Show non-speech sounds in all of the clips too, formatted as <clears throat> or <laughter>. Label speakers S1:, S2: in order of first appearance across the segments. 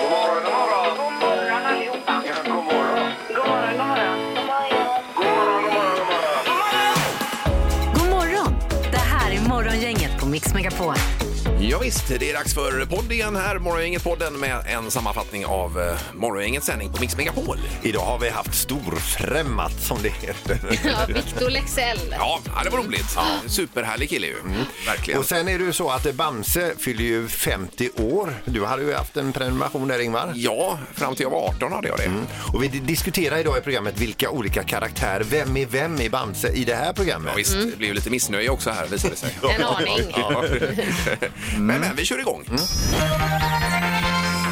S1: God morgon, god morgon.
S2: God morgon allihopa.
S1: Ja, god morgon.
S2: God morgon, god morgon. God morgon.
S1: God morgon, god morgon, god morgon.
S3: God morgon! Det här är Morgongänget på Mix Megapol.
S4: Ja, visst, det är dags för podd igen här, Morgongänget-podden med en sammanfattning av eh, Morgongängets sändning på Mix Megapol.
S5: Idag har vi haft storfrämmat som det <laughs> heter.
S6: Ja, Victor Lexell.
S4: Ja, ja, det var roligt. Superhärlig kille ju. Verkligen.
S5: Och sen är det ju så att Bamse fyller ju 50 år. Du hade ju haft en prenumeration där Ingmar. Mm.
S4: Ja, fram till jag var 18 hade jag det.
S5: Och vi diskuterar idag i programmet vilka olika karaktärer, vem är vem i Bamse i det här
S4: Ja,
S5: programmet?
S4: visst, det blev ju lite missnöje också här visade det sig.
S6: En aning.
S4: Mm. Ja. <laughs> Mm. Men, men vi kör igång.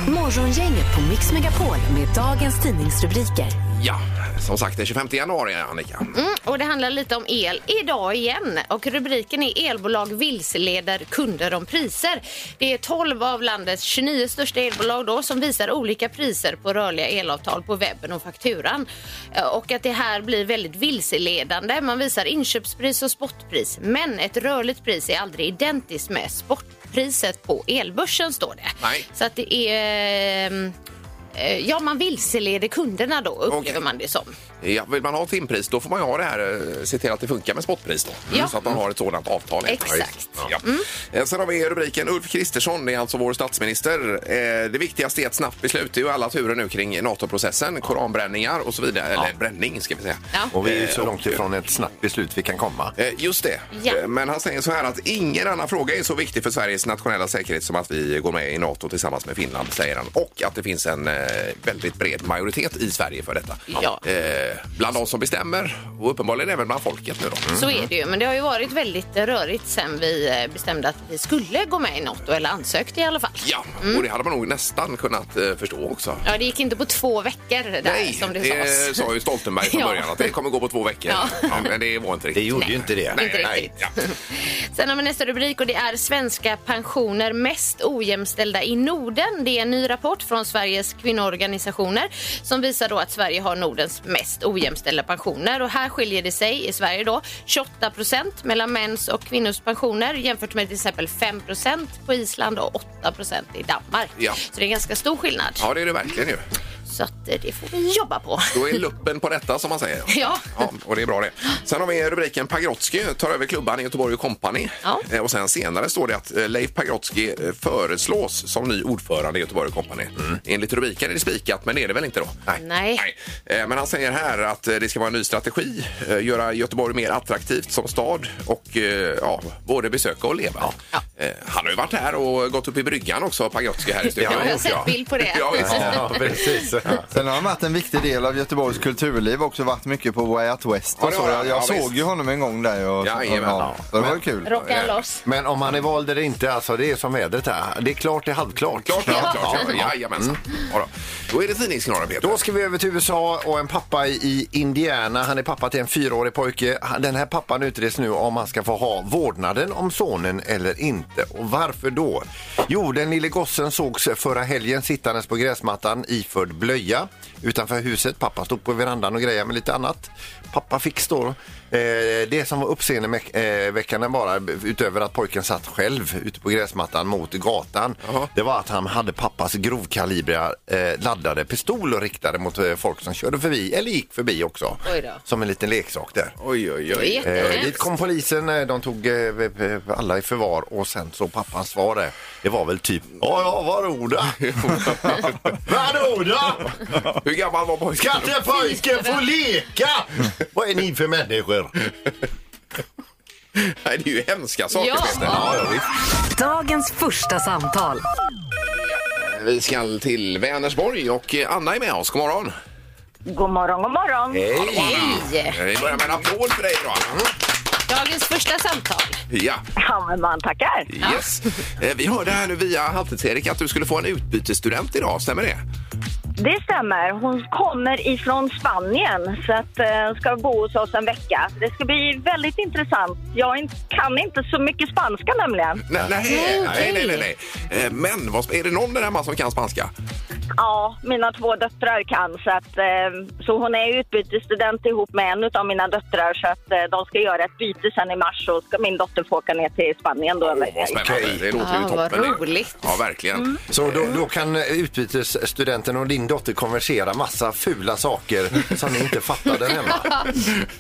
S3: Morgongänget på Mix Megapol med dagens tidningsrubriker.
S4: Ja, som sagt den 25 januari Annika.
S6: Mm, och det handlar lite om el idag igen. Och rubriken är Elbolag vilseleder kunder om priser. Det är 12 av landets 29 största elbolag då som visar olika priser på rörliga elavtal på webben och fakturan. Eh, Och att det här blir väldigt vilseledande. Man visar inköpspris och spotpris. Men ett rörligt pris är aldrig identiskt med spotpriset på elbörsen står det.
S4: Nej.
S6: Så att det är... ehm, eh, Ja, man vilseleder kunderna då, upplever
S4: Okej.
S6: man det som.
S4: Ja, vill man ha timpris då får man ju ha det här, eh, se till att det funkar med spotpris då.
S6: Ja.
S4: Så att man har ett sådant avtal.
S6: Exakt. Mm.
S4: Ja. Eh, Sen har vi rubriken Ulf Kristersson, det är alltså vår statsminister. Eh, Det viktigaste är ett snabbt beslut. Det är ju alla turer nu kring NATO-processen, koranbränningar och så vidare. Eller bränning ska vi säga.
S6: Ja.
S5: Eh, Och vi är ju så långt ifrån ett snabbt beslut vi kan komma.
S4: Eh, Just det.
S6: Ja.
S4: Eh, Men han säger så här att ingen annan fråga är så viktig för Sveriges nationella säkerhet som att vi går med i NATO tillsammans med Finland, säger han. Och att det finns en eh, väldigt bred majoritet i Sverige för detta.
S6: Ja.
S4: Eh, bland de som bestämmer och uppenbarligen även bland folket nu då.
S6: Så är det ju, men det har ju varit väldigt rörigt sen vi eh, bestämde att vi skulle gå med i NATO, eller ansökte i alla fall.
S4: Ja,
S6: Mm.
S4: och det hade man nog nästan kunnat eh, förstå också.
S6: Ja, det gick inte på två veckor där,
S4: Nej,
S6: som det
S4: det
S6: sades.
S4: sa ju Stoltenberg från
S6: <laughs> Ja.
S4: början att det kommer gå på två veckor.
S6: Ja.
S4: Ja, men det var inte riktigt.
S5: gjorde ju inte det.
S4: Nej,
S6: Inte
S4: nej, ja.
S6: Sen har vi nästa rubrik och det är svenska pensioner mest ojämställda i Norden. Det är en ny rapport från Sveriges kvinnoorganisationer som visar då att Sverige har Nordens mest ojämställda pensioner och här skiljer det sig i Sverige då 28 procent mellan mäns och kvinnors pensioner jämfört med till exempel 5 procent på Island och 8 procent i Danmark.
S4: Ja.
S6: Så det är ganska stor skillnad.
S4: ja, det är det verkligen ju.
S6: Så att eh, det får vi jobba på.
S4: Då är luppen på detta som man säger.
S6: <laughs> Ja.
S4: och det är bra det. Sen har vi rubriken Pagrotsky tar över klubban i Göteborg Company.
S6: Ja.
S4: Eh, Och sen senare står det att eh, Leif Pagrotsky eh, föreslås som ny ordförande i Göteborg Company. Enligt rubriken är det spikat, men det är det väl inte då?
S6: Nej.
S4: Eh, Men han säger här att eh, det ska vara en ny strategi, eh, göra Göteborg mer attraktivt som stad och eh, ja, både besöka och leva. Eh, Han har ju varit här och gått upp i bryggan också, Pagrotsky här i studion.
S6: Ja, jag har sett bild på det.
S4: Ja, visst.
S6: <laughs>
S5: <laughs> Ja, precis.
S7: Sen har han varit en viktig del av Göteborgs kulturliv också, varit mycket på Way Out West
S4: Ja,
S7: och
S4: det
S7: så.
S4: har han.
S7: Jag, jag
S4: Ja,
S7: såg
S4: visst.
S7: ju honom en gång där och
S4: Jajamän.
S7: det var ju kul.
S6: Rocka loss.
S5: Men om han är vald eller inte, alltså det är som vädret här. Det är klart, det är halvklart.
S4: Klart, klart, klart. Jajamensan.
S6: Mm.
S4: Ja, då. då är det tidningsknorren, Peter.
S5: Då ska vi över till USA och en pappa i Indiana. Han är pappa till en fyraårig pojke. Han- Den här pappan utreds nu om han ska få ha vårdnaden om sonen eller inte. Och varför då? Jo, den lille gossen sågs förra helgen sittandes på gräsmattan iförd blöja utanför huset. Pappa stod på verandan och grejade med lite annat. Pappa fick stå. Eh, det som var uppseendeväckande bara, utöver att pojken satt själv ute på gräsmattan mot gatan,
S4: Jaha.
S5: det var att han hade pappas grovkalibriga eh, laddade pistol och riktade mot eh, folk som körde förbi, eller gick förbi också.
S6: Oj då.
S5: Som en liten leksak där.
S4: Oj, oj,
S6: Det är
S4: oj.
S5: Eh,
S6: jättehemskt.
S5: dit kom polisen, eh, de tog eh, v- v- alla i förvar och sen så pappans svar där, det var väl typ Ja, ja, varoda! varoda!
S4: <laughs> Hur gammal var pojken?
S5: Ska inte pojken få leka? Vad är ni för människor?
S4: <laughs> Nej, det är ju hemska saker,
S6: Ja.
S4: Peter. Ja, visst.
S3: Dagens första samtal.
S4: Vi ska till Vänersborg och eh, Anna är med oss. God morgon.
S2: God morgon, god morgon.
S6: Hej!
S4: Eh, Vi börjar med en applåd för dig idag. Anna.
S6: Dagens första samtal.
S4: Ja,
S2: Ja, men man tackar.
S4: yes. Eh, Vi hörde här nu via Halvtids-Erik att du skulle få en utbytesstudent idag, stämmer det?
S2: Det stämmer. Hon kommer ifrån Spanien så att eh, ska bo hos oss en vecka. Det ska bli väldigt intressant. Jag in- kan inte så mycket spanska nämligen.
S4: Nej, nej, nej, nej, nej. Eh, Men vad, är det någon där hemma som kan spanska?
S2: Ja, mina två döttrar kan. Så, att, eh, så hon är ju utbytesstudent ihop med en av mina döttrar. Så att eh, de ska göra ett byte sen i mars så ska min dotter få åka ner till Spanien då en
S4: Åh,
S2: vecka.
S4: vad spännande.
S5: Okej.
S4: Det låter ju
S6: Ah, vad
S4: toppen. det.
S6: roligt. Mm.
S4: Ja, verkligen.
S5: Så då, då kan utbytesstudenten och din dotter konversera massa fula saker som ni inte fattade hemma.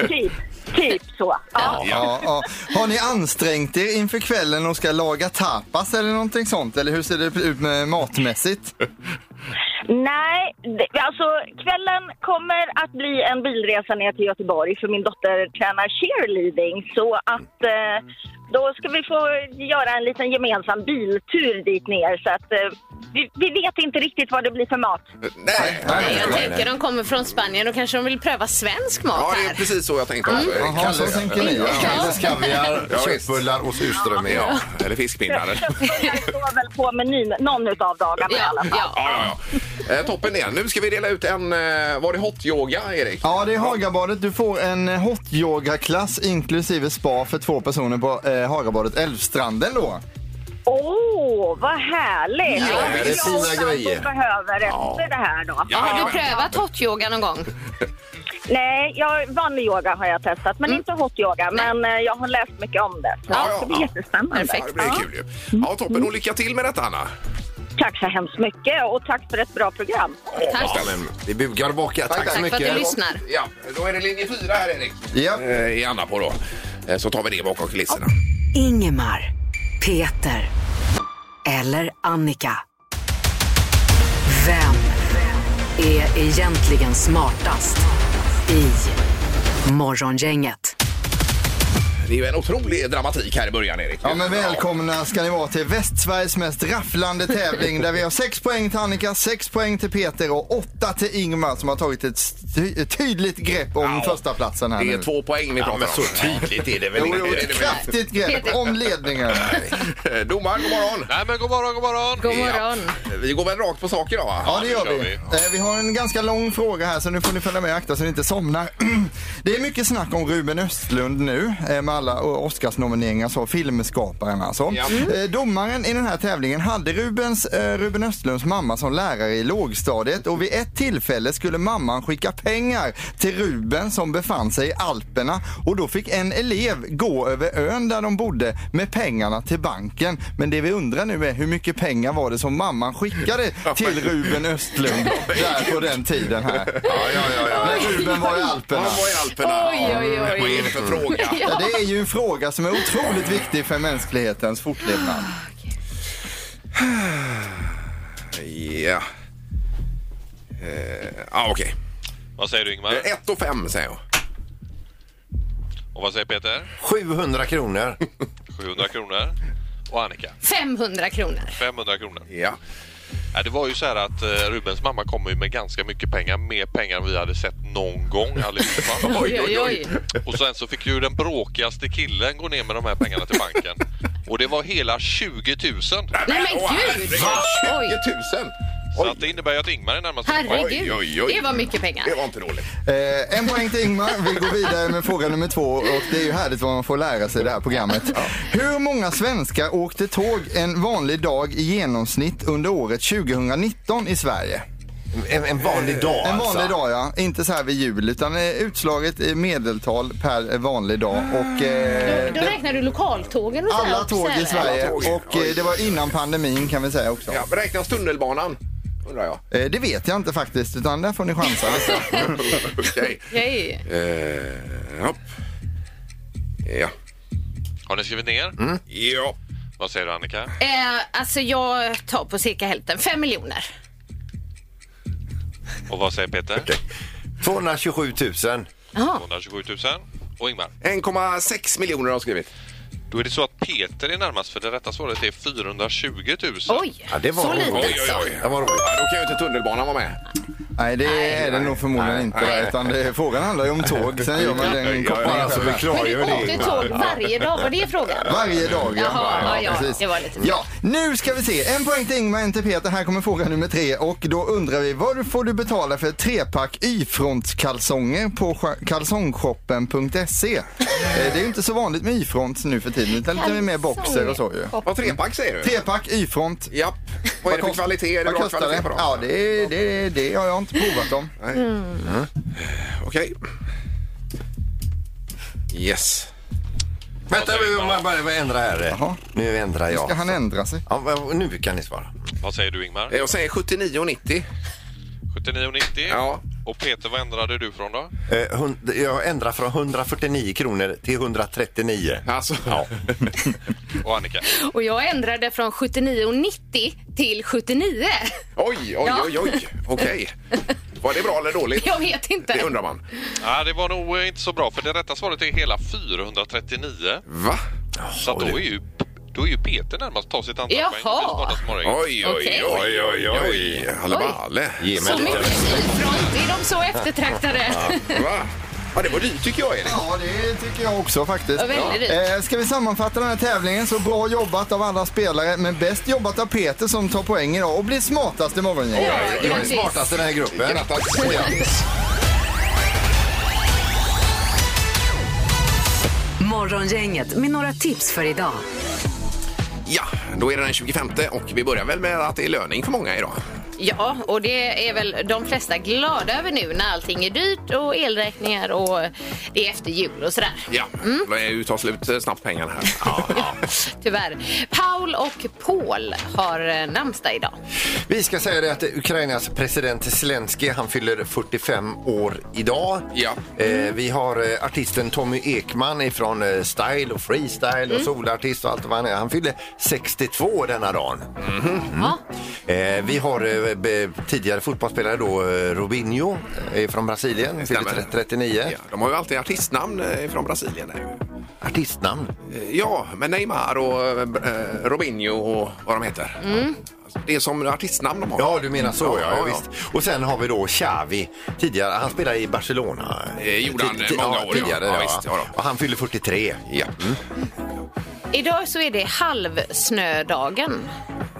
S2: Typ, typ så. Ja.
S7: Ja, ja. Har ni ansträngt er inför kvällen och ska laga tapas eller någonting sånt? Eller hur ser det ut med matmässigt?
S2: Nej, det, alltså kvällen kommer att bli en bilresa ner till Göteborg för min dotter tränar cheerleading. Så att eh, då ska vi få göra en liten gemensam biltur dit ner. Så att eh, vi, vi vet inte riktigt vad det blir för mat.
S4: Nej,
S6: Nej,
S4: nej.
S6: jag tänker de kommer från Spanien och kanske de vill pröva svensk mat
S4: Ja, det är
S6: här.
S4: precis så jag tänkte också.
S7: Jaha,
S4: Mm. Kalle.
S7: så tänker ni.
S5: Ja, Kalles kaviar,
S4: Ja, visst.
S5: köttbullar och surströmming.
S4: Ja, eller fiskpinnar. eller-
S2: Köttbullar står väl på menyn någon utav dagarna i alla
S6: Ja,
S2: fall.
S6: ja.
S4: Ja, ja, ja. Eh, toppen det. Nu ska vi dela ut en... Eh, var det hot yoga, Erik?
S7: Ja, det är Hagabadet. Du får en hot-yoga-klass inklusive spa för två personer på eh, Hagabadet Älvstranden då.
S2: Åh, vad härligt!
S5: Ja, det är
S2: Jag
S5: fina
S2: och sambo
S5: grejer.
S2: behöver
S4: Ja.
S2: efter det här då.
S4: Ja.
S6: Har du prövat hot-yoga någon gång?
S2: Nej, jag, vanlig yoga har jag testat, men inte hot yoga. Men eh, jag har läst mycket om det. Så
S4: Ja,
S2: det ska bli
S4: ja.
S2: jättespännande.
S4: Ja, det blir kul ju. Ja, toppen. Och lycka till med detta, Anna.
S2: Tack så hemskt mycket och tack för ett bra program.
S6: Tack.
S4: Ja,
S5: Men vi bugar och bockar. Tack,
S6: Tack
S5: så
S6: för att
S5: mycket.
S6: du lyssnar.
S4: Ja, då är det linje fyra här, Erik.
S7: Ja.
S4: Eh, I Anna på då. Eh, Så tar vi det bakom kulisserna.
S3: Ingemar, Peter eller Annika. Vem är egentligen smartast i Morgongänget?
S4: Det är ju en otrolig dramatik här i början, Erik.
S7: Ja, men välkomna ska ni vara till Västsveriges mest rafflande tävling där vi har 6 poäng till Annika, 6 poäng till Peter och 8 till Ingmar som har tagit ett sty- tydligt grepp om
S4: Ja.
S7: första platsen här
S4: Det är
S7: nu.
S4: två poäng vi pratar
S5: men
S4: om.
S5: så tydligt
S4: är det
S7: Jo,
S4: inte?
S7: jo,
S4: Det är
S7: ett
S4: det
S7: kraftigt grepp om ledningen.
S4: väl? Eh, <laughs> Domaren, god morgon!
S8: Nej men god morgon, god morgon!
S6: God morgon.
S4: Ja. Vi går väl rakt på sak idag, va?
S7: Ja, det gör
S8: det gör
S7: vi. Eh, Vi har en ganska lång fråga här så nu får ni följa med och akta så ni inte somnar. <clears throat> Det är mycket snack om Ruben Östlund nu eh, med alla o- Oscarsnomineringar, så filmskaparen alltså.
S4: Ja.
S7: Eh, Domaren i den här tävlingen hade Rubens, eh, Ruben Östlunds mamma som lärare i lågstadiet och vid ett tillfälle skulle mamman skicka pengar till Ruben som befann sig i Alperna och då fick en elev gå över ön där de bodde med pengarna till banken. Men det vi undrar nu är hur mycket pengar var det som mamman skickade till Ruben Östlund där på den tiden här.
S4: Ja, ja, ja. ja.
S7: När Ruben var i
S4: Ja,
S7: Alperna.
S4: vad är Alperna?
S6: Oj, oj, oj.
S4: Vad är det för fråga?
S7: Ja, det är ju en fråga som är otroligt viktig för mänsklighetens fortlevnad.
S4: Ja. Eh, ah, okej.
S8: Vad säger du Ingmar?
S4: Ett och fem säger jag.
S8: Och vad säger Peter?
S5: 700 kronor.
S8: 700 kronor. Och Annika?
S6: 500 kronor.
S8: 500 kronor.
S4: <laughs> Ja.
S8: Ja, det var ju så här att eh, Rubens mamma kom ju med ganska mycket pengar. Mer pengar än vi hade sett någon gång
S6: <laughs>
S8: allihopa.
S6: Oj, oj, oj.
S8: Och sen så fick ju den bråkigaste killen gå ner med de här pengarna till banken. Och det var hela 20 000.
S6: Nej, men
S4: Åh,
S6: gud!
S4: herregud.
S6: Oj.
S4: 20 000!
S8: Så att det innebär ju att Ingmar är närmast.
S4: Oj,
S6: Herregud,
S4: oj, oj.
S6: det var mycket pengar.
S4: Det var inte dåligt.
S7: Eh, en poäng till Ingmar. Vi går vidare med fråga nummer två och det är ju härligt vad man får lära sig i det här programmet. Hur många svenskar åkte tåg en vanlig dag i genomsnitt under året 2019 i Sverige?
S5: En, en vanlig dag
S7: En vanlig
S5: alltså.
S7: dag ja, inte så här vid jul utan eh, utslaget i medeltal per eh, vanlig dag. Och,
S6: Då,
S7: eh,
S6: då
S7: det,
S6: räknar du lokaltågen och så här
S7: alla
S6: också,
S7: tåg i
S6: eller?
S7: Sverige
S4: Alla tåg.
S7: och eh, det var innan pandemin kan vi säga också.
S4: Ja, men räknas tunnelbanan? Undrar jag.
S7: Eh, det vet jag inte faktiskt utan där får ni chansa.
S4: <laughs> Okej.
S6: Okej.
S4: Eh, hopp. ja.
S8: Har ni skrivit ner?
S4: Ja.
S8: Vad säger du Annika?
S6: Eh, alltså jag tar på cirka hälften, fem miljoner.
S8: Och vad säger Peter?
S5: 227 000.
S8: 227 000. Och Ingmar?
S4: 1,6 miljoner har jag skrivit.
S8: Då är det så att Peter är närmast för det rätta svaret är 420 000.
S6: Oj,
S5: Ja, det var
S6: så
S5: roligt.
S6: lite
S4: Oj, oj,
S6: så.
S4: oj.
S5: Det var roligt.
S4: Ja, då kan ju inte tunnelbanan vara med.
S7: Nej det är det nog förmodligen inte
S4: nej.
S7: utan det, frågan handlar ju om tåg. Sen gör man den
S4: Ja,
S7: kopplingen
S5: Alltså,
S7: själv.
S5: vi klarar
S6: Men
S5: ju
S6: du
S5: det.
S6: åkte tåg varje dag, var det frågan?
S7: Varje dag, ja.
S6: Jaha, ja, ja, det var lite
S7: Ja, nu ska vi se. En poäng till Ingmar, en till Peter. Här kommer fråga nummer tre. Och då undrar vi, vad får du betala för ett trepack Y-frontskalsonger på scha- kalsongshoppen.se? Eh, Det är ju inte så vanligt med Y-fronts nu för tiden utan lite mer boxer och så ju.
S4: Vad trepack säger du?
S7: Trepack, Y-front.
S4: Japp. Vad är det för kvalitet? Är det
S7: Vad
S4: bra
S7: kostar
S4: kvalitet
S7: det?
S4: på dem?
S7: Ja, det, det, det har jag inte provat dem.
S4: Okej. Yes.
S5: Vänta, nu om man bara ändra här.
S7: Jaha.
S5: Nu ändrar jag.
S7: Ska han ändra sig?
S5: Ja, men nu kan ni svara.
S8: Vad säger du Ingmar?
S4: Eh, Jag säger 79,90.
S8: 79,90.
S4: Ja.
S8: Och Peter, vad ändrade du från då?
S5: Eh, hund, jag ändrar från 149 kronor till 139.
S4: Alltså, ja.
S8: Och Annika?
S6: Och jag ändrade från 79,90 till 79.
S4: <laughs> Oj, oj,
S6: Ja.
S4: oj, oj. Okej. Var det bra eller dåligt?
S6: Jag vet inte.
S4: Det undrar man.
S8: Ja, det var nog eh, inte så bra för det rätta svaret är hela 439.
S4: Va?
S8: Så att då är ju, då är ju Peter närmast ta sitt antal
S6: Jaha.
S8: poäng. Det är smartaste morgonen.
S4: Oj, oj,
S6: Okej.
S4: oj, oj, oj. Halle Ge
S6: Så mycket front är de så eftertraktade. <laughs>
S4: Va? Ja, det var dyrt tycker jag, Erik.
S7: Ja, det tycker jag också faktiskt.
S6: Ja, väldigt
S7: Ja. Eh, ska vi sammanfatta den här tävlingen så bra jobbat av alla spelare men bäst jobbat av Peter som tar poäng idag och blir smartast i morgongänget.
S5: Jag är smartast i den här gruppen.
S4: Grattis.
S3: Morgongänget med några tips för idag.
S4: Ja, då är det den 25 och vi börjar väl med att det är löning för många idag.
S6: Ja, och det är väl de flesta glada över nu när allting är dyrt och elräkningar och det är efter jul och sådär.
S4: Ja, mm. tar slut eh, snabbt pengarna här.
S6: Tyvärr. Paul och Paul har eh, namnsdag idag.
S5: Vi ska säga det att Ukrainas president Zelensky han fyller 45 år idag.
S4: Ja.
S5: Eh, vi har eh, artisten Tommy Ekman ifrån eh, Style och Freestyle och solartist och allt vad han är. Han fyller 62 denna dagen.
S6: Ja.
S5: Eh, vi har eh, be, tidigare fotbollsspelare då, eh, Robinho eh, från Brasilien, fyller
S4: Stämmer.
S5: tre- 39.
S4: Ja, de har ju alltid artistnamn eh, från Brasilien. Där. ju.
S5: Artistnamn.
S4: Ja, men Neymar och eh, Robinho och vad de heter. Alltså, Det är som artistnamn de har.
S5: Mm. Ja, du menar så, ja, ja, visst. Och sen har vi då Xavi, tidigare, han spelade i Barcelona.
S4: Eh, gjorde han,
S5: Tid-
S4: eh,
S5: tid-
S4: många
S5: ja,
S4: år, ja.
S5: Tidigare,
S4: Ja,
S5: ja.
S4: visst, ja då.
S5: och han fyller 43.
S4: Ja.
S6: Idag så är det halvsnödagen.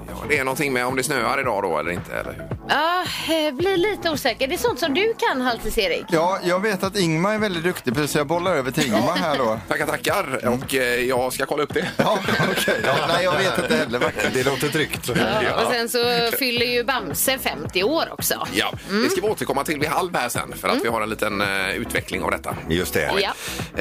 S4: ja, det är någonting med om det snöar idag då eller inte. Eller hur?
S6: Ja, eh, blir lite osäker. Det är sånt som du kan halvtids, Erik.
S7: Ja, jag vet att Ingmar är väldigt duktig på det, så jag bollar över till Ingmar här då.
S4: Tackar, tackar.
S5: Mm.
S4: Och eh, jag ska kolla upp det.
S7: Ja, <laughs> okej. Ja, nej, jag vet inte heller faktiskt.
S5: Det låter tryggt.
S6: Och sen så fyller ju Bamse 50 år också.
S4: <laughs> Ja, det ska vi återkomma till vid halv här sen för att vi har en liten eh, utveckling av detta.
S5: Mm. Just det.
S6: Ja.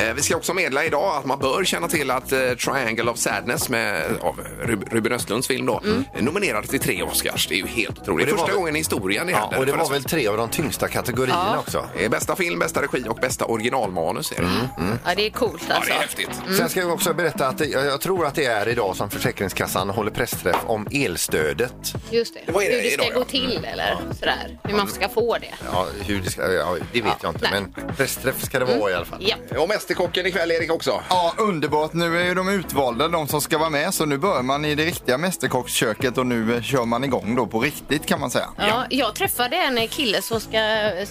S4: Eh, vi ska också meddela idag att man bör känna till att eh, Triangle of Sadness med, av Rub- Ruben Östlunds film då,
S6: Mm.
S4: är nominerad till tre Oscars. Det är ju helt otroligt.
S5: Och det var
S4: Första
S5: väl-
S4: gången i historien det
S5: Ja,
S4: händer.
S5: och det var
S4: Förresten.
S5: väl tre av de tyngsta kategorierna också.
S4: Eh, Bästa film, bästa regi och bästa originalmanus.
S5: Mm.
S4: Är det. Mm.
S6: Ja, det är coolt
S4: Ja,
S6: alltså.
S4: det är häftigt.
S5: Sen ska jag också berätta att det, jag jag tror att det är idag som Försäkringskassan håller pressträff om elstödet.
S6: Just det.
S4: Vad är det
S6: Hur det ska
S4: idag, ja?
S6: gå till eller sådär. Hur man ska få det.
S5: Ja, hur det, ska, ja, det vet jag inte,
S6: nej. Mm.
S5: men pressträff ska det vara i alla fall.
S6: Ja.
S4: Och Mästerkocken ikväll, Erik, också.
S7: Ja, underbart. Nu är ju de utvalda, de som ska vara med, så nu börjar man i det riktiga mästerkocksköket och nu eh, kör man igång då på riktigt kan man säga.
S6: Ja, jag träffade en kille som, ska,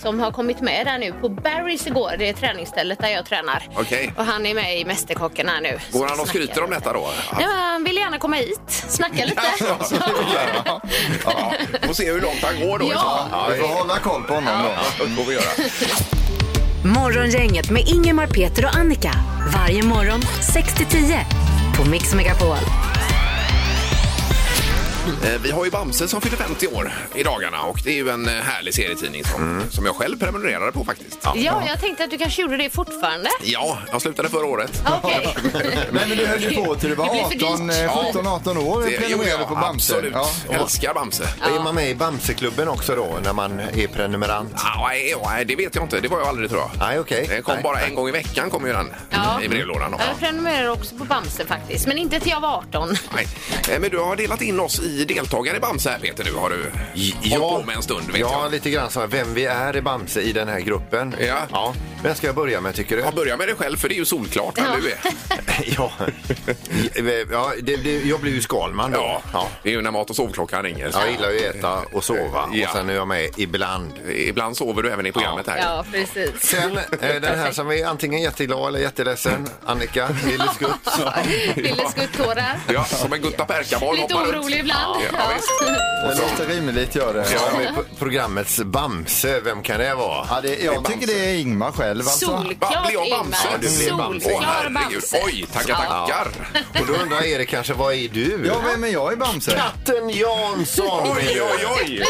S6: som har kommit med där nu på Barry's igår. Det är träningsstället där jag tränar.
S4: Okej.
S6: Och han är med i Mästerkocken här nu.
S4: Går
S6: Ska
S4: han och
S6: snacka
S4: skryter om
S6: lite.
S4: detta då?
S6: <laughs> Ja, men han vill gärna komma hit, snacka lite.
S7: Ja.
S4: Ja, får se hur långt han går då. i så fall.
S7: Vi får hålla koll på honom då.
S4: Ja, det får vi göra.
S3: Morgongänget med Ingemar, Peter och Annika. Varje morgon 6 till 10 på Mix Megapol.
S5: Mm.
S4: Eh, Vi har ju Bamse som fyller 50 år i dagarna och det är ju en eh, härlig serietidning som,
S5: Mm.
S4: som jag själv prenumererade på faktiskt.
S6: ja, jag tänkte att du kanske gjorde det fortfarande.
S4: Ja, jag slutade förra året.
S6: Okej.
S7: Nej, men du höll ju på till du var
S6: Det blir för
S7: 18,
S6: dyrt.
S7: eh, 17, 18 år
S4: Det- jo,
S7: prenumererade på Bamse.
S4: Absolut.
S7: Ja.
S4: Älskar Bamse.
S5: Är man med i Bamseklubben också då, när man är prenumerant?
S4: Ah, nej, nej, det vet jag inte. Det var jag aldrig tror jag.
S5: Nej, okej.
S4: Den kom
S5: Nej.
S4: bara en gång i veckan kom ju den
S6: Ja.
S4: i brevlådan. då.
S6: Jag prenumererar också på Bamse faktiskt, men inte till jag var 18.
S4: Nej. Eh, Men du har delat in oss i deltagare i Bamse här Peter. Du har du hållit på med en stund vet
S5: ja,
S4: jag.
S5: lite grann så här, vem vi är i Bamse i den här gruppen.
S4: Ja.
S5: Vem ska jag börja med tycker du?
S4: Jag börjar med dig själv för det är ju solklart vem
S6: Ja.
S4: du är.
S5: <laughs> ja. ja det, det, jag blir ju Skalman då.
S4: Ja. Det är ju när mat och sovklockan ringer. Så.
S5: Jag gillar ju att äta och sova
S4: Ja.
S5: och sen är jag med ibland.
S4: Ibland sover du även i programmet här.
S6: Ja, precis.
S5: Sen eh, den här som är antingen jätteglad eller jätteledsen, Annika Lille Skutt.
S4: <laughs>
S6: Ville skuttårar.
S4: Ja, som en Gutta Perkaboll
S6: Lite
S4: hoppar runt.
S6: orolig ibland. Finland.
S4: Ja, ja, visst.
S7: Det låter rimligt gör det.
S5: Ja, men p- programmets Bamse, vem kan det vara?
S7: Ja, det jag tycker det är Ingmar själv alltså.
S4: Va,
S6: Solklart
S4: blir jag
S6: Ingmar.
S4: Bamse?
S5: Ja, du blev Bamse.
S4: Åh,
S6: Solklar
S4: herregud.
S6: Bamse.
S4: Oj, tackar, tackar.
S5: Och då undrar Erik kanske, vad är du?
S7: Ja, vem är jag i Bamse?
S5: Katten Jansson!
S4: Oj, oj, oj.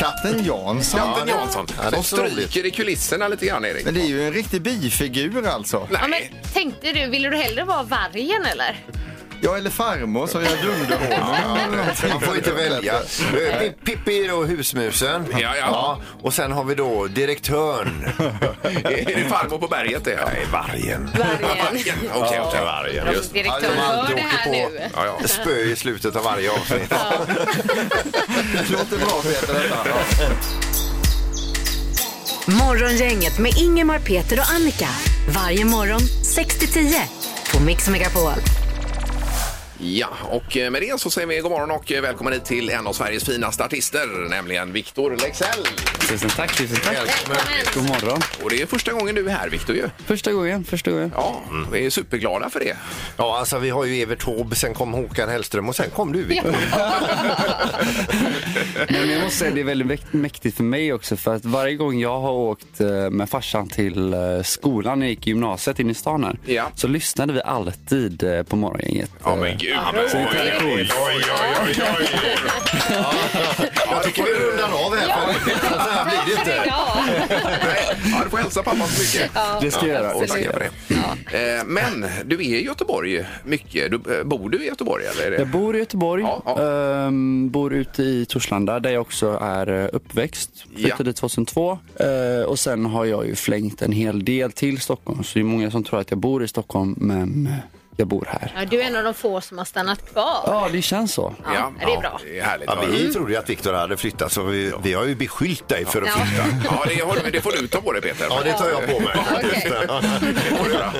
S7: Katten Jansson.
S4: Anton Jansson.
S5: Ja, det är
S4: Som
S5: så
S4: stryker i kulisserna lite grann, Erik.
S7: Men det är ju en riktig bifigur alltså.
S6: Ja, men
S4: Nej.
S6: tänkte du, ville du hellre vara vargen eller?
S7: Jag eller farmor så jag glömde honom.
S5: Man får inte välja. Eh, Pip- Pippi då, husmusen.
S4: Ja, ja.
S5: Och sen har vi då direktören.
S4: Är det farmor på berget det? Nej,
S5: Vargen.
S6: Vargen.
S4: Vargen. Okej, okej.
S5: Vargen.
S6: Just. Alltså, Direktör,
S5: Ja,
S6: hör
S5: alltid
S6: det
S5: åker
S6: här
S5: på
S6: nu.
S4: Ja, ja.
S5: Spö i slutet av varje avsnitt.
S7: Det låter bra Peter detta.
S3: Morgongänget med Ingemar, Peter och Annika. Varje morgon 6 till 10 på Mix Megapol.
S4: Ja, och eh, med det så säger vi god morgon och eh, välkommen hit till en av Sveriges finaste artister, nämligen Victor Lexell.
S9: Tusen tack, tusen tack. God morgon.
S4: Och det är första gången du är här, Victor ju.
S9: Första gången, första gången.
S4: Ja,
S5: Mm.
S4: vi är superglada för det.
S5: Ja, alltså vi har ju Evert Taube, sen kom Håkan Hellström och sen kom du Victor.
S9: Men jag måste säga det är väldigt mäkt- mäktigt för mig också för att varje gång jag har åkt eh, med farsan till eh, skolan när jag gick i gymnasiet inne i stan här
S4: Ja.
S9: så lyssnade vi alltid eh, på morgongänget.
S4: Ja, men gud.
S9: Så det är tradition.
S6: <laughs>
S5: Jag tycker vi rundar av här. för Så här blir det inte.
S6: Ja,
S4: Ja, du får hälsa pappa så mycket.
S9: Det ska jag göra.
S4: Och tacka för det. Eh, Men du är i Göteborg mycket. Du, eh, bor du i Göteborg eller? Är det?
S9: Jag bor i Göteborg,
S4: Ja, ja.
S9: ehm, bor ute i Torslanda där jag också är eh, uppväxt. Flyttade
S4: Ja.
S9: dit 2002 eh, och sen har jag ju flängt en hel del till Stockholm så det är många som tror att jag bor i Stockholm men jag bor här.
S6: Ja, du är en av de få som har stannat kvar.
S9: Ja, det känns så.
S6: Ja, det är bra.
S4: Det är härligt.
S5: Ja, vi trodde ju att Victor hade flyttat så vi, vi har ju beskyllt dig för att
S6: Ja.
S5: flytta.
S4: Ja, det, har- det får du ta på dig Peter.
S5: Ja, det tar jag på mig.
S6: <laughs> Okej.
S4: Det får du göra.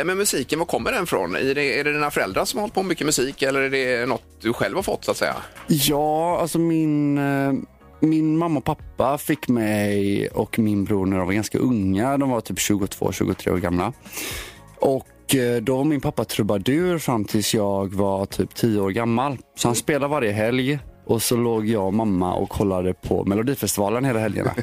S4: Eh, Men musiken, var kommer den ifrån? Är det, är det dina föräldrar som har hållit på med mycket musik eller är det något du själv har fått så att säga?
S9: Ja, alltså min, eh, min mamma och pappa fick mig och min bror när de var ganska unga. De var typ 22-23 år gamla. Och eh, då var min pappa trubadur fram tills jag var typ 10 år gammal. Så han spelade varje helg. Och så låg jag och mamma och kollade på Melodifestivalen hela helgerna.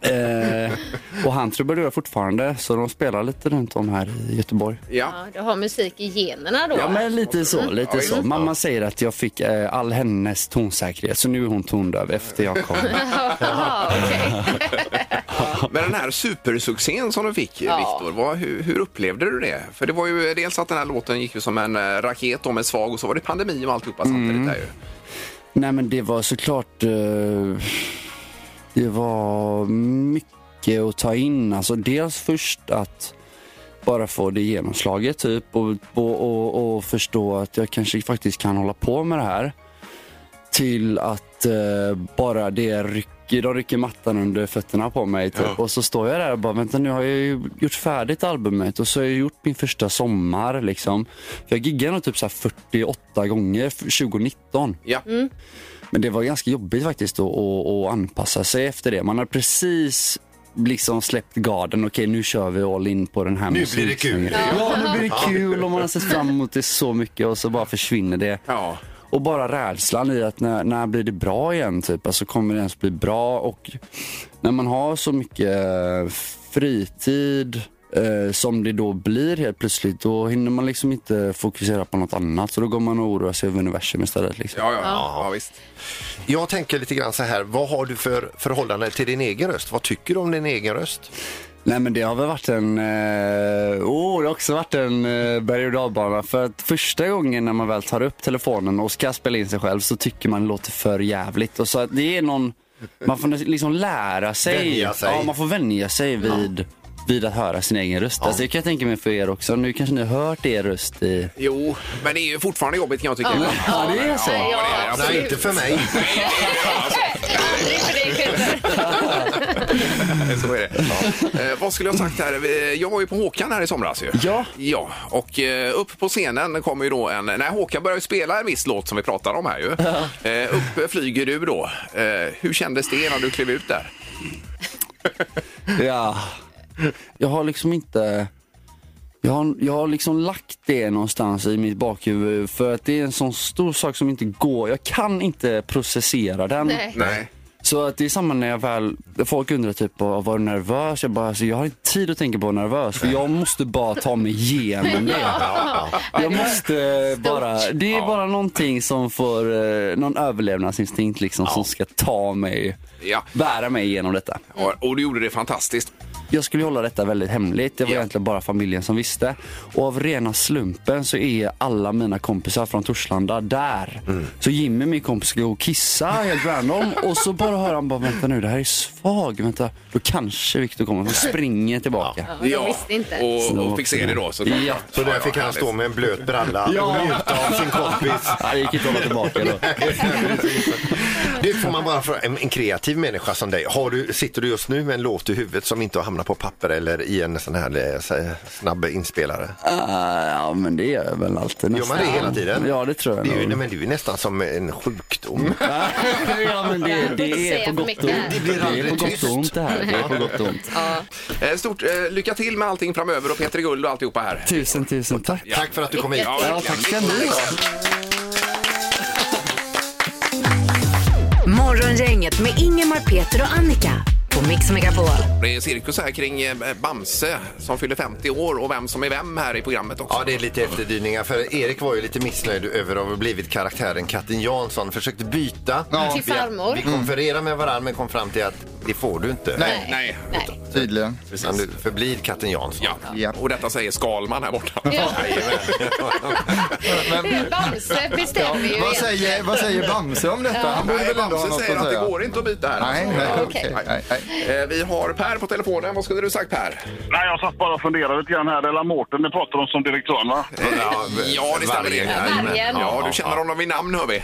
S9: eh, och han trubadurar fortfarande, så de spelar lite runt om här i Göteborg.
S4: Ja.
S6: Ja, du har musik i generna då.
S9: Ja, men lite så. Lite så. Mamma säger att jag fick eh, all hennes tonsäkerhet, så nu är hon tondöv efter jag kom.
S6: Jaha, okej.
S4: Men den här supersuccén som du fick,
S6: Ja.
S4: Viktor, vad- hur, hur upplevde du det? För det var ju dels att den här låten gick ju som en eh, raket om en svag och så var det pandemi och alltihopa samtidigt där ju.
S9: Nej, men det var såklart... Eh, det var mycket att ta in. Alltså, dels först att bara få det genomslaget typ och, och, och, och förstå att jag kanske faktiskt kan hålla på med det här. Till att eh, bara det rycker, de rycker mattan under fötterna på mig typ. och så står jag där och bara vänta nu har jag ju gjort färdigt albumet och så har jag gjort min första sommar liksom. För jag giggade nog typ så här 48 gånger f- 2019.
S4: Ja.
S6: Mm.
S9: Men det var ganska jobbigt faktiskt att, att, att anpassa sig efter det. Man har precis liksom släppt garden. Okej, nu kör vi all in på den här
S5: Nu blir det
S9: musiksvängen.
S5: kul.
S9: Ja, nu blir det kul och man har sett fram emot det så mycket och så bara försvinner det.
S4: Ja.
S9: Och bara rädslan i att när, när blir det bra igen? Typ? Alltså kommer det ens bli bra? Och när man har så mycket eh, fritid eh, som det då blir helt plötsligt, då hinner man liksom inte fokusera på något annat. Så då går man och oroar sig över universum istället. Liksom.
S4: Ja, ja, ja, ja, visst.
S5: Jag tänker lite grann så här, vad har du för förhållande till din egen röst? Vad tycker du om din egen röst?
S9: Nej men det har väl varit en, eh, oh, det har också varit en eh, berg och dalbana. För att första gången när man väl tar upp telefonen och ska spela in sig själv så tycker man det låter för jävligt. Och så att det är någon, man får liksom lära sig.
S5: Vänja sig.
S9: Ja, man får vänja sig vid, vid att höra sin egen röst. Alltså, det kan jag tänka mig för er också. Nu kanske ni har hört er röst i...
S4: Jo, men det är ju fortfarande jobbigt kan jag tycka.
S6: Ja.
S9: Ja, det är så.
S6: Nej, ja,
S4: det är
S5: Nej,
S6: absolut.
S5: inte för mig.
S6: Aldrig för dig, Peter.
S4: <laughs> Så är det. Eh, vad skulle jag ha sagt här? Eh, Jag var ju på Håkan här i somras ju.
S9: Ja.
S4: Ja, och eh, upp på scenen kommer ju då en... Nej, Håkan börjar ju spela en viss låt som vi pratar om här ju. Eh, upp flyger du då. Eh, hur kändes det när du klev ut där?
S9: Ja. Jag har liksom inte... Jag har, jag har liksom lagt det någonstans i mitt bakhuvud för att det är en sån stor sak som inte går. Jag kan inte processera den.
S6: Nej.
S4: Nej.
S9: Så att det är samma när jag väl, folk undrar typ "Åh, var du nervös? Jag bara, alltså, jag har inte tid att tänka på nervös för jag måste bara ta mig igenom det. Jag måste bara, det är bara någonting som får, eh, någon överlevnadsinstinkt liksom som ska ta mig,
S4: Ja.
S9: bära mig igenom detta.
S4: Och, och du gjorde det fantastiskt.
S9: Jag skulle ju hålla detta väldigt hemligt. Det var
S4: Ja.
S9: egentligen bara familjen som visste. Och av rena slumpen så är alla mina kompisar från Torslanda där.
S5: Mm.
S9: Så Jimmy, min kompis, skulle gå och kissa helt random. Och så bara hör han bara, vänta nu, det här är svag. Vänta, då kanske Viktor kommer. Och springer tillbaka.
S6: Ja, jag visste inte.
S4: Och, och fick se det då. Så,
S9: Ja.
S5: Så där fick han stå med en blöt bralla och njuta av sin kompis.
S9: <laughs> Ja, det gick inte att hålla tillbaka då.
S5: Det får man bara fråga, en, en kreativ människa som dig, har du, sitter du just nu med en låt i huvudet som inte har hamnat på papper eller i en sån här eh, så- snabb inspelare?
S9: Ah, ja, men det gör jag väl alltid
S5: Gör man
S9: nästan.
S5: det hela tiden?
S9: Ja, det tror jag
S5: Det är ju, nej,
S9: nog.
S5: men det är ju nästan som en
S4: Mm.
S5: sjukdom.
S9: <laughs> ja, men det, det är
S6: Säga
S9: på
S6: för
S9: gott
S6: mycket
S9: och
S6: här.
S9: ont.
S6: Det
S5: blir
S9: Det är på
S5: aldrig
S9: gott
S5: tyst.
S9: och ont det här. Det är på gott och ont.
S4: eh, stort eh, lycka till med allting framöver och Peter i Guld och alltihopa här.
S9: Tusen, tusen tack.
S5: Tack för att du kom hit.
S6: Vilket-
S9: Ja, tack ska ni ha.
S3: Morgongänget med Ingemar, Peter och Annika på Mix Megapol.
S4: Det är cirkus här kring eh, Bamse som fyller 50 år och vem som är vem här i programmet också.
S5: Ja, det är lite efterdyningar. För Erik var ju lite missnöjd över att ha blivit karaktären Katten Jansson. Försökte byta.
S6: Till
S5: Vi-
S6: farmor. Mm.
S5: Vi konfererade med varandra men kom fram till att det får du inte.
S7: Nej.
S4: Nej.
S6: Nej.
S7: Tydligen.
S5: Utan du förblir Katten Jansson.
S4: Ja.
S7: Ja.
S4: och detta säger Skalman här borta.
S6: Ja.
S7: Men-
S6: Men... Bamse bestämmer ju
S7: Vad
S6: egentligen.
S7: säger, vad säger Bamse om detta? Han borde
S4: Nej,
S7: väl ändå ha något
S4: Bamse
S7: att
S4: säger
S7: säga?
S4: att det går inte att byta här.
S7: Nej,
S4: alltså.
S7: nej,
S4: Ja.
S7: okej.
S4: Nej.
S7: Nej, nej.
S4: Eh, Vi har Per på telefonen. Vad skulle du sagt Per?
S1: Nej, jag satt bara och funderade lite grann här. Eller Mårten, det pratade de som direktören va?
S4: Ja, det stämmer.
S5: vargen.
S4: det.
S6: Vargen.
S4: Ja, du känner honom vid namn hör vi.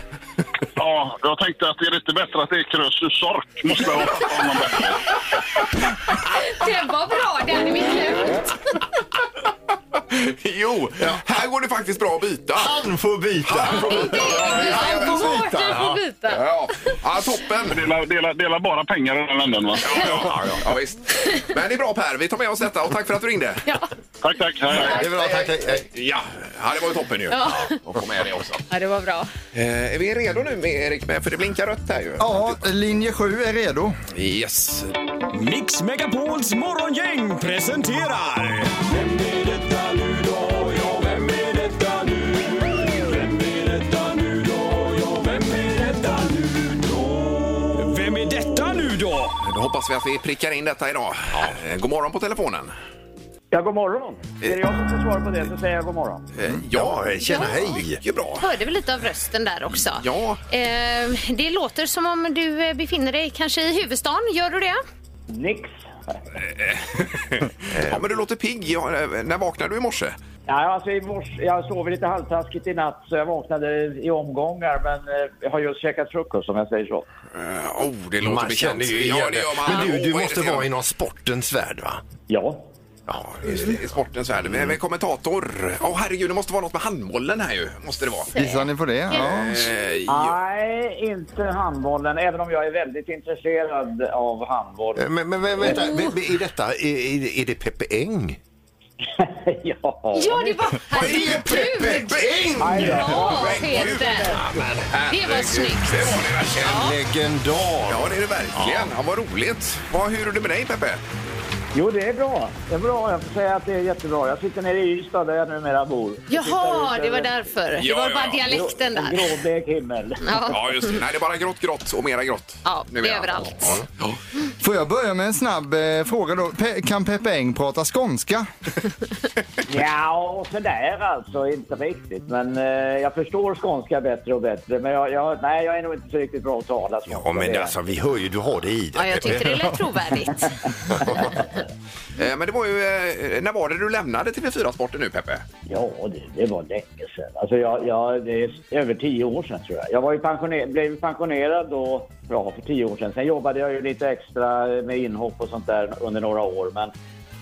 S1: Ja, jag tänkte att det är lite bättre att det är Krösus Sork. Måste jag ha honom bättre.
S6: Det var bra, det hade vi glömt.
S4: Jo, här går det faktiskt bra att byta.
S5: Han får byta!
S6: Han får
S5: byta, ja.
S6: Mårten får byta.
S4: Ja, ja toppen.
S1: Dela, dela, dela bara pengar i den änden va?
S4: Ja, ja, ja, ja, visst. Men det är bra Per, vi tar med oss detta och tack för att du ringde.
S1: Tack, tack. Hej, hej.
S5: Det är bra, tack. hej, hej.
S4: Ja, ja det var ju toppen ju. Ja. Och få med det också.
S6: Ja, det var bra.
S4: Eh, är vi redo nu med Erik? Med, för det blinkar rött här ju.
S7: Ja, linje 7 är redo.
S4: Yes.
S10: Mix Megapols morgongäng presenterar... Vem är detta nu då? Ja, vem är detta nu? Vem är detta nu då? Ja, vem är detta nu då? Vem är detta nu då?
S4: Då hoppas vi att vi prickar in detta idag. Eh, god morgon på telefonen.
S11: Ja, god morgon. Är det jag som får svara på det så säger jag god morgon.
S4: Eh, ja,
S5: Tjena,
S6: Ja.
S5: hej!
S4: mycket bra.
S6: Hörde väl lite av rösten där också.
S4: Ja.
S6: Eh, det låter som om du eh, befinner dig kanske i huvudstaden. Gör du det?
S11: Nix.
S4: Ja, men du låter pigg. Ja, eh, när vaknade du i morse?
S11: Ja, alltså i morse, jag sov lite halvtaskigt i natt så jag vaknade i omgångar men eh, jag har just käkat frukost om jag säger så.
S4: Eh, oh, det
S5: Man
S4: låter bekant.
S5: känner ju
S4: ja,
S5: igen
S4: det
S5: det.
S4: gör
S5: Men
S4: man.
S5: du,
S4: Oh,
S5: du
S4: vad
S5: måste
S4: irriterande.
S5: vara inom sportens värld, va?
S11: Ja.
S4: Ja, just det, i sportens värld. Men men kommentator. Åh herregud, det måste vara något med handbollen här ju. Måste det vara.
S7: Gissar ni på det? Ja.
S4: Eh, ja.
S11: Nej, inte handbollen även om jag är väldigt intresserad av handboll.
S5: Eh, Men, men, men vänta, oh. är detta, är, är- är det Peppe Eng?
S11: <laughs> ja.
S6: Ja, det var...
S4: är Peppe Bing!
S11: Aj då.
S6: Ja,
S4: Herregud.
S6: Peter. Det var snyggt.
S4: Det var det verkligen.
S5: Legendar!
S4: Ja, det är det verkligen. Ja, vad roligt. Vad, hur är det med dig, Peppe?
S11: Jo, det är bra. Det är bra. Jag får säga att det är jättebra. Jag sitter nere i Ystad där jag numera bor.
S6: Jaha, det var därför. det
S4: Ja,
S6: var
S4: ja,
S6: bara
S4: ja.
S6: dialekten
S11: En
S6: där.
S11: gråblek himmel.
S6: Ja.
S4: Ja, just det. Nej, det är bara grått, grått och mera grått.
S6: Ja,
S4: Nu
S6: det är
S4: jag.
S6: överallt.
S4: Ja.
S7: Får jag börja med en snabb eh, fråga då? Pe- kan Peppe Eng prata skånska?
S11: Ja, och sådär alltså. Inte riktigt. Men eh, jag förstår skånska bättre och bättre. Men jag, jag, nej, jag är nog inte så riktigt bra att tala skånska.
S5: Ja, men
S11: det är-
S5: alltså vi hör ju, du har det i dig.
S6: Ja, jag tyckte det lät trovärdigt.
S4: Eh, Men det var ju... eh, När var det du lämnade TV4-sporten nu, Peppe?
S11: Ja, det, det var länge sedan. Alltså jag, jag, det är över tio år sedan tror jag. Jag var ju pensioner, blev pensionerad då, ja, för tio år sedan. Sen jobbade jag ju lite extra med inhopp och sånt där under några år. Men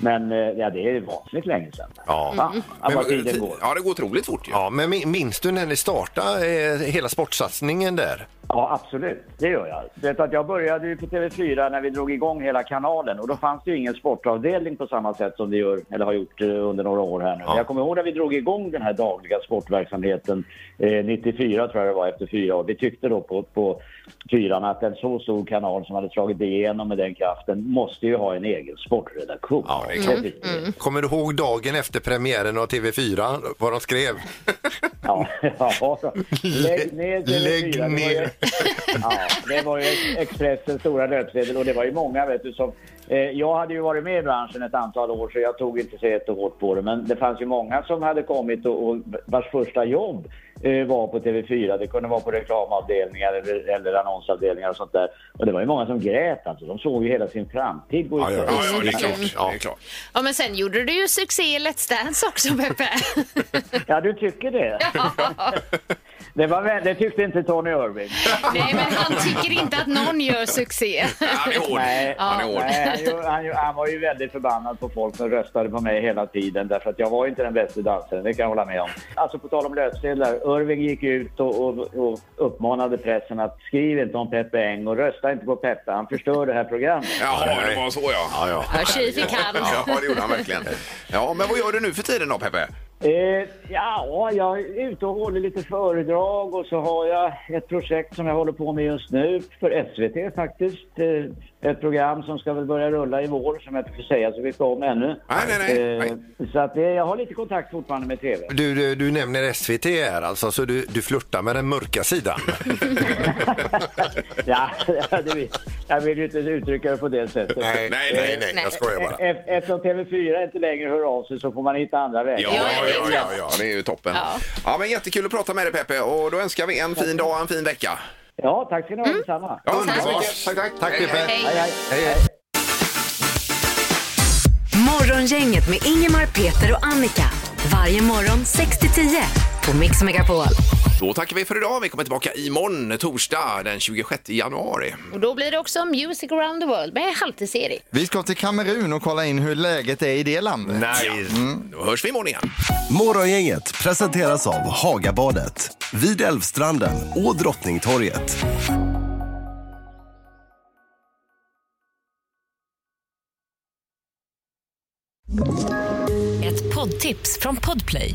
S11: Men eh, ja, det är vansinnigt länge sedan.
S5: <laughs> Ja.
S11: Fan, vad tiden går.
S4: eh, Ja, det går otroligt fort ju.
S5: Ja, men min- minns du när ni startade eh, hela sportsatsningen där?
S11: Ja, absolut. Det gör jag. Du Vet att jag började ju på TV4 när vi drog igång hela kanalen och då fanns det ju ingen sportavdelning på samma sätt som det gör, eller har gjort eh, under några år här nu.
S5: Ja.
S11: Jag kommer ihåg när vi drog igång den här dagliga sportverksamheten eh, 94 tror jag det var, efter fyra år. Vi tyckte då på, på fyran att en så stor kanal som hade slagit igenom med den kraften måste ju ha en egen sportredaktion. Mm,
S5: Ja, Oh, det är klart.
S11: tyckte vi.
S5: Kommer du ihåg dagen efter premiären av TV4, vad de skrev?
S11: Ja, <laughs> ja. Lägg ner TV4.
S5: <laughs> Lägg
S11: Det var ju-
S5: ner.
S11: Ja, det var ju Expressens stora löpsedel och det var ju många vet du som... Eh, jag hade ju varit med i branschen ett antal år så jag tog inte så jättehårt på det men det fanns ju många som hade kommit och, och vars första jobb eh, var på TV4. Det kunde vara på reklamavdelningar eller, eller annonsavdelningar och sånt där. Och det var ju många som grät alltså. De såg ju hela sin framtid gå i
S5: Ja, ja,
S11: stöpet.
S4: Ja, ja, det är klart.
S5: Ja.
S4: Det är klart.
S6: Ja, men sen gjorde du ju succé i Let's Dance också, Peppe.
S11: <laughs> Ja, du tycker det? <laughs> det, var, vä- det tyckte inte Tony Irving.
S6: Nej, men han tycker inte att någon gör succé.
S4: Han är hård.
S11: Nej,
S4: Han är hård.
S11: Nej, han, ju- han, ju- han var ju väldigt förbannad på folk som röstade på mig hela tiden därför att jag var ju inte den bästa dansaren, det kan jag hålla med om. Alltså på tal om löpsedlar, Irving gick ut och, och, och uppmanade pressen att skriv inte om Peppe Eng och rösta inte på Peppe, han förstör det här
S4: <laughs>
S11: programmet.
S4: Ja, det var så ja.
S5: ja.
S6: Ja, tji fick han.
S4: <laughs> Ja, det gjorde han verkligen. Ja, men vad gör du nu för tiden då, Peppe?
S11: Eh, ja, jag är ute och håller lite föredrag och så har jag ett projekt som jag håller på med just nu för SVT faktiskt. Eh, ett program som ska väl börja rulla i vår som jag inte får säga så mycket om ännu.
S4: Nej, nej, nej.
S11: Eh, Så att det, jag har lite kontakt fortfarande med
S5: <laughs>
S11: TV.
S5: Du, du, du nämner SVT här alltså, så du, du flörtar med den mörka sidan. <laughs>
S11: <laughs> ja, det vill, jag vill ju inte uttrycka det på det sättet.
S5: nej, nej, nej, nej, jag skojar bara.
S11: E- e- Eftersom TV4 inte längre hör av sig så får man hitta andra vägar.
S4: Ja, ja, ja, ja, ja, det är ju toppen. Ja. men jättekul att prata med dig Peppe och då önskar vi en fin dag och en fin vecka.
S11: Ja, tack ska ni ha detsamma.
S4: Ja, underbart.
S5: Tack, tack. Tack, Pippe.
S11: Hej, hej.
S5: Hej, hej.
S3: Morgongänget med Ingemar, Peter och Annika. Varje morgon 6 till 10 på Mix Megapol.
S4: Då tackar vi för idag. Vi kommer tillbaka imorgon torsdag den 26 januari.
S6: Och då blir det också Music around the world med Halvtids-Erik.
S7: Vi ska till Kamerun och kolla in hur läget är i det landet.
S5: Nice.
S4: Då hörs vi imorgon igen.
S12: Morgongänget presenteras av Hagabadet, vid Älvstranden och Drottningtorget.
S3: Ett poddtips från Podplay.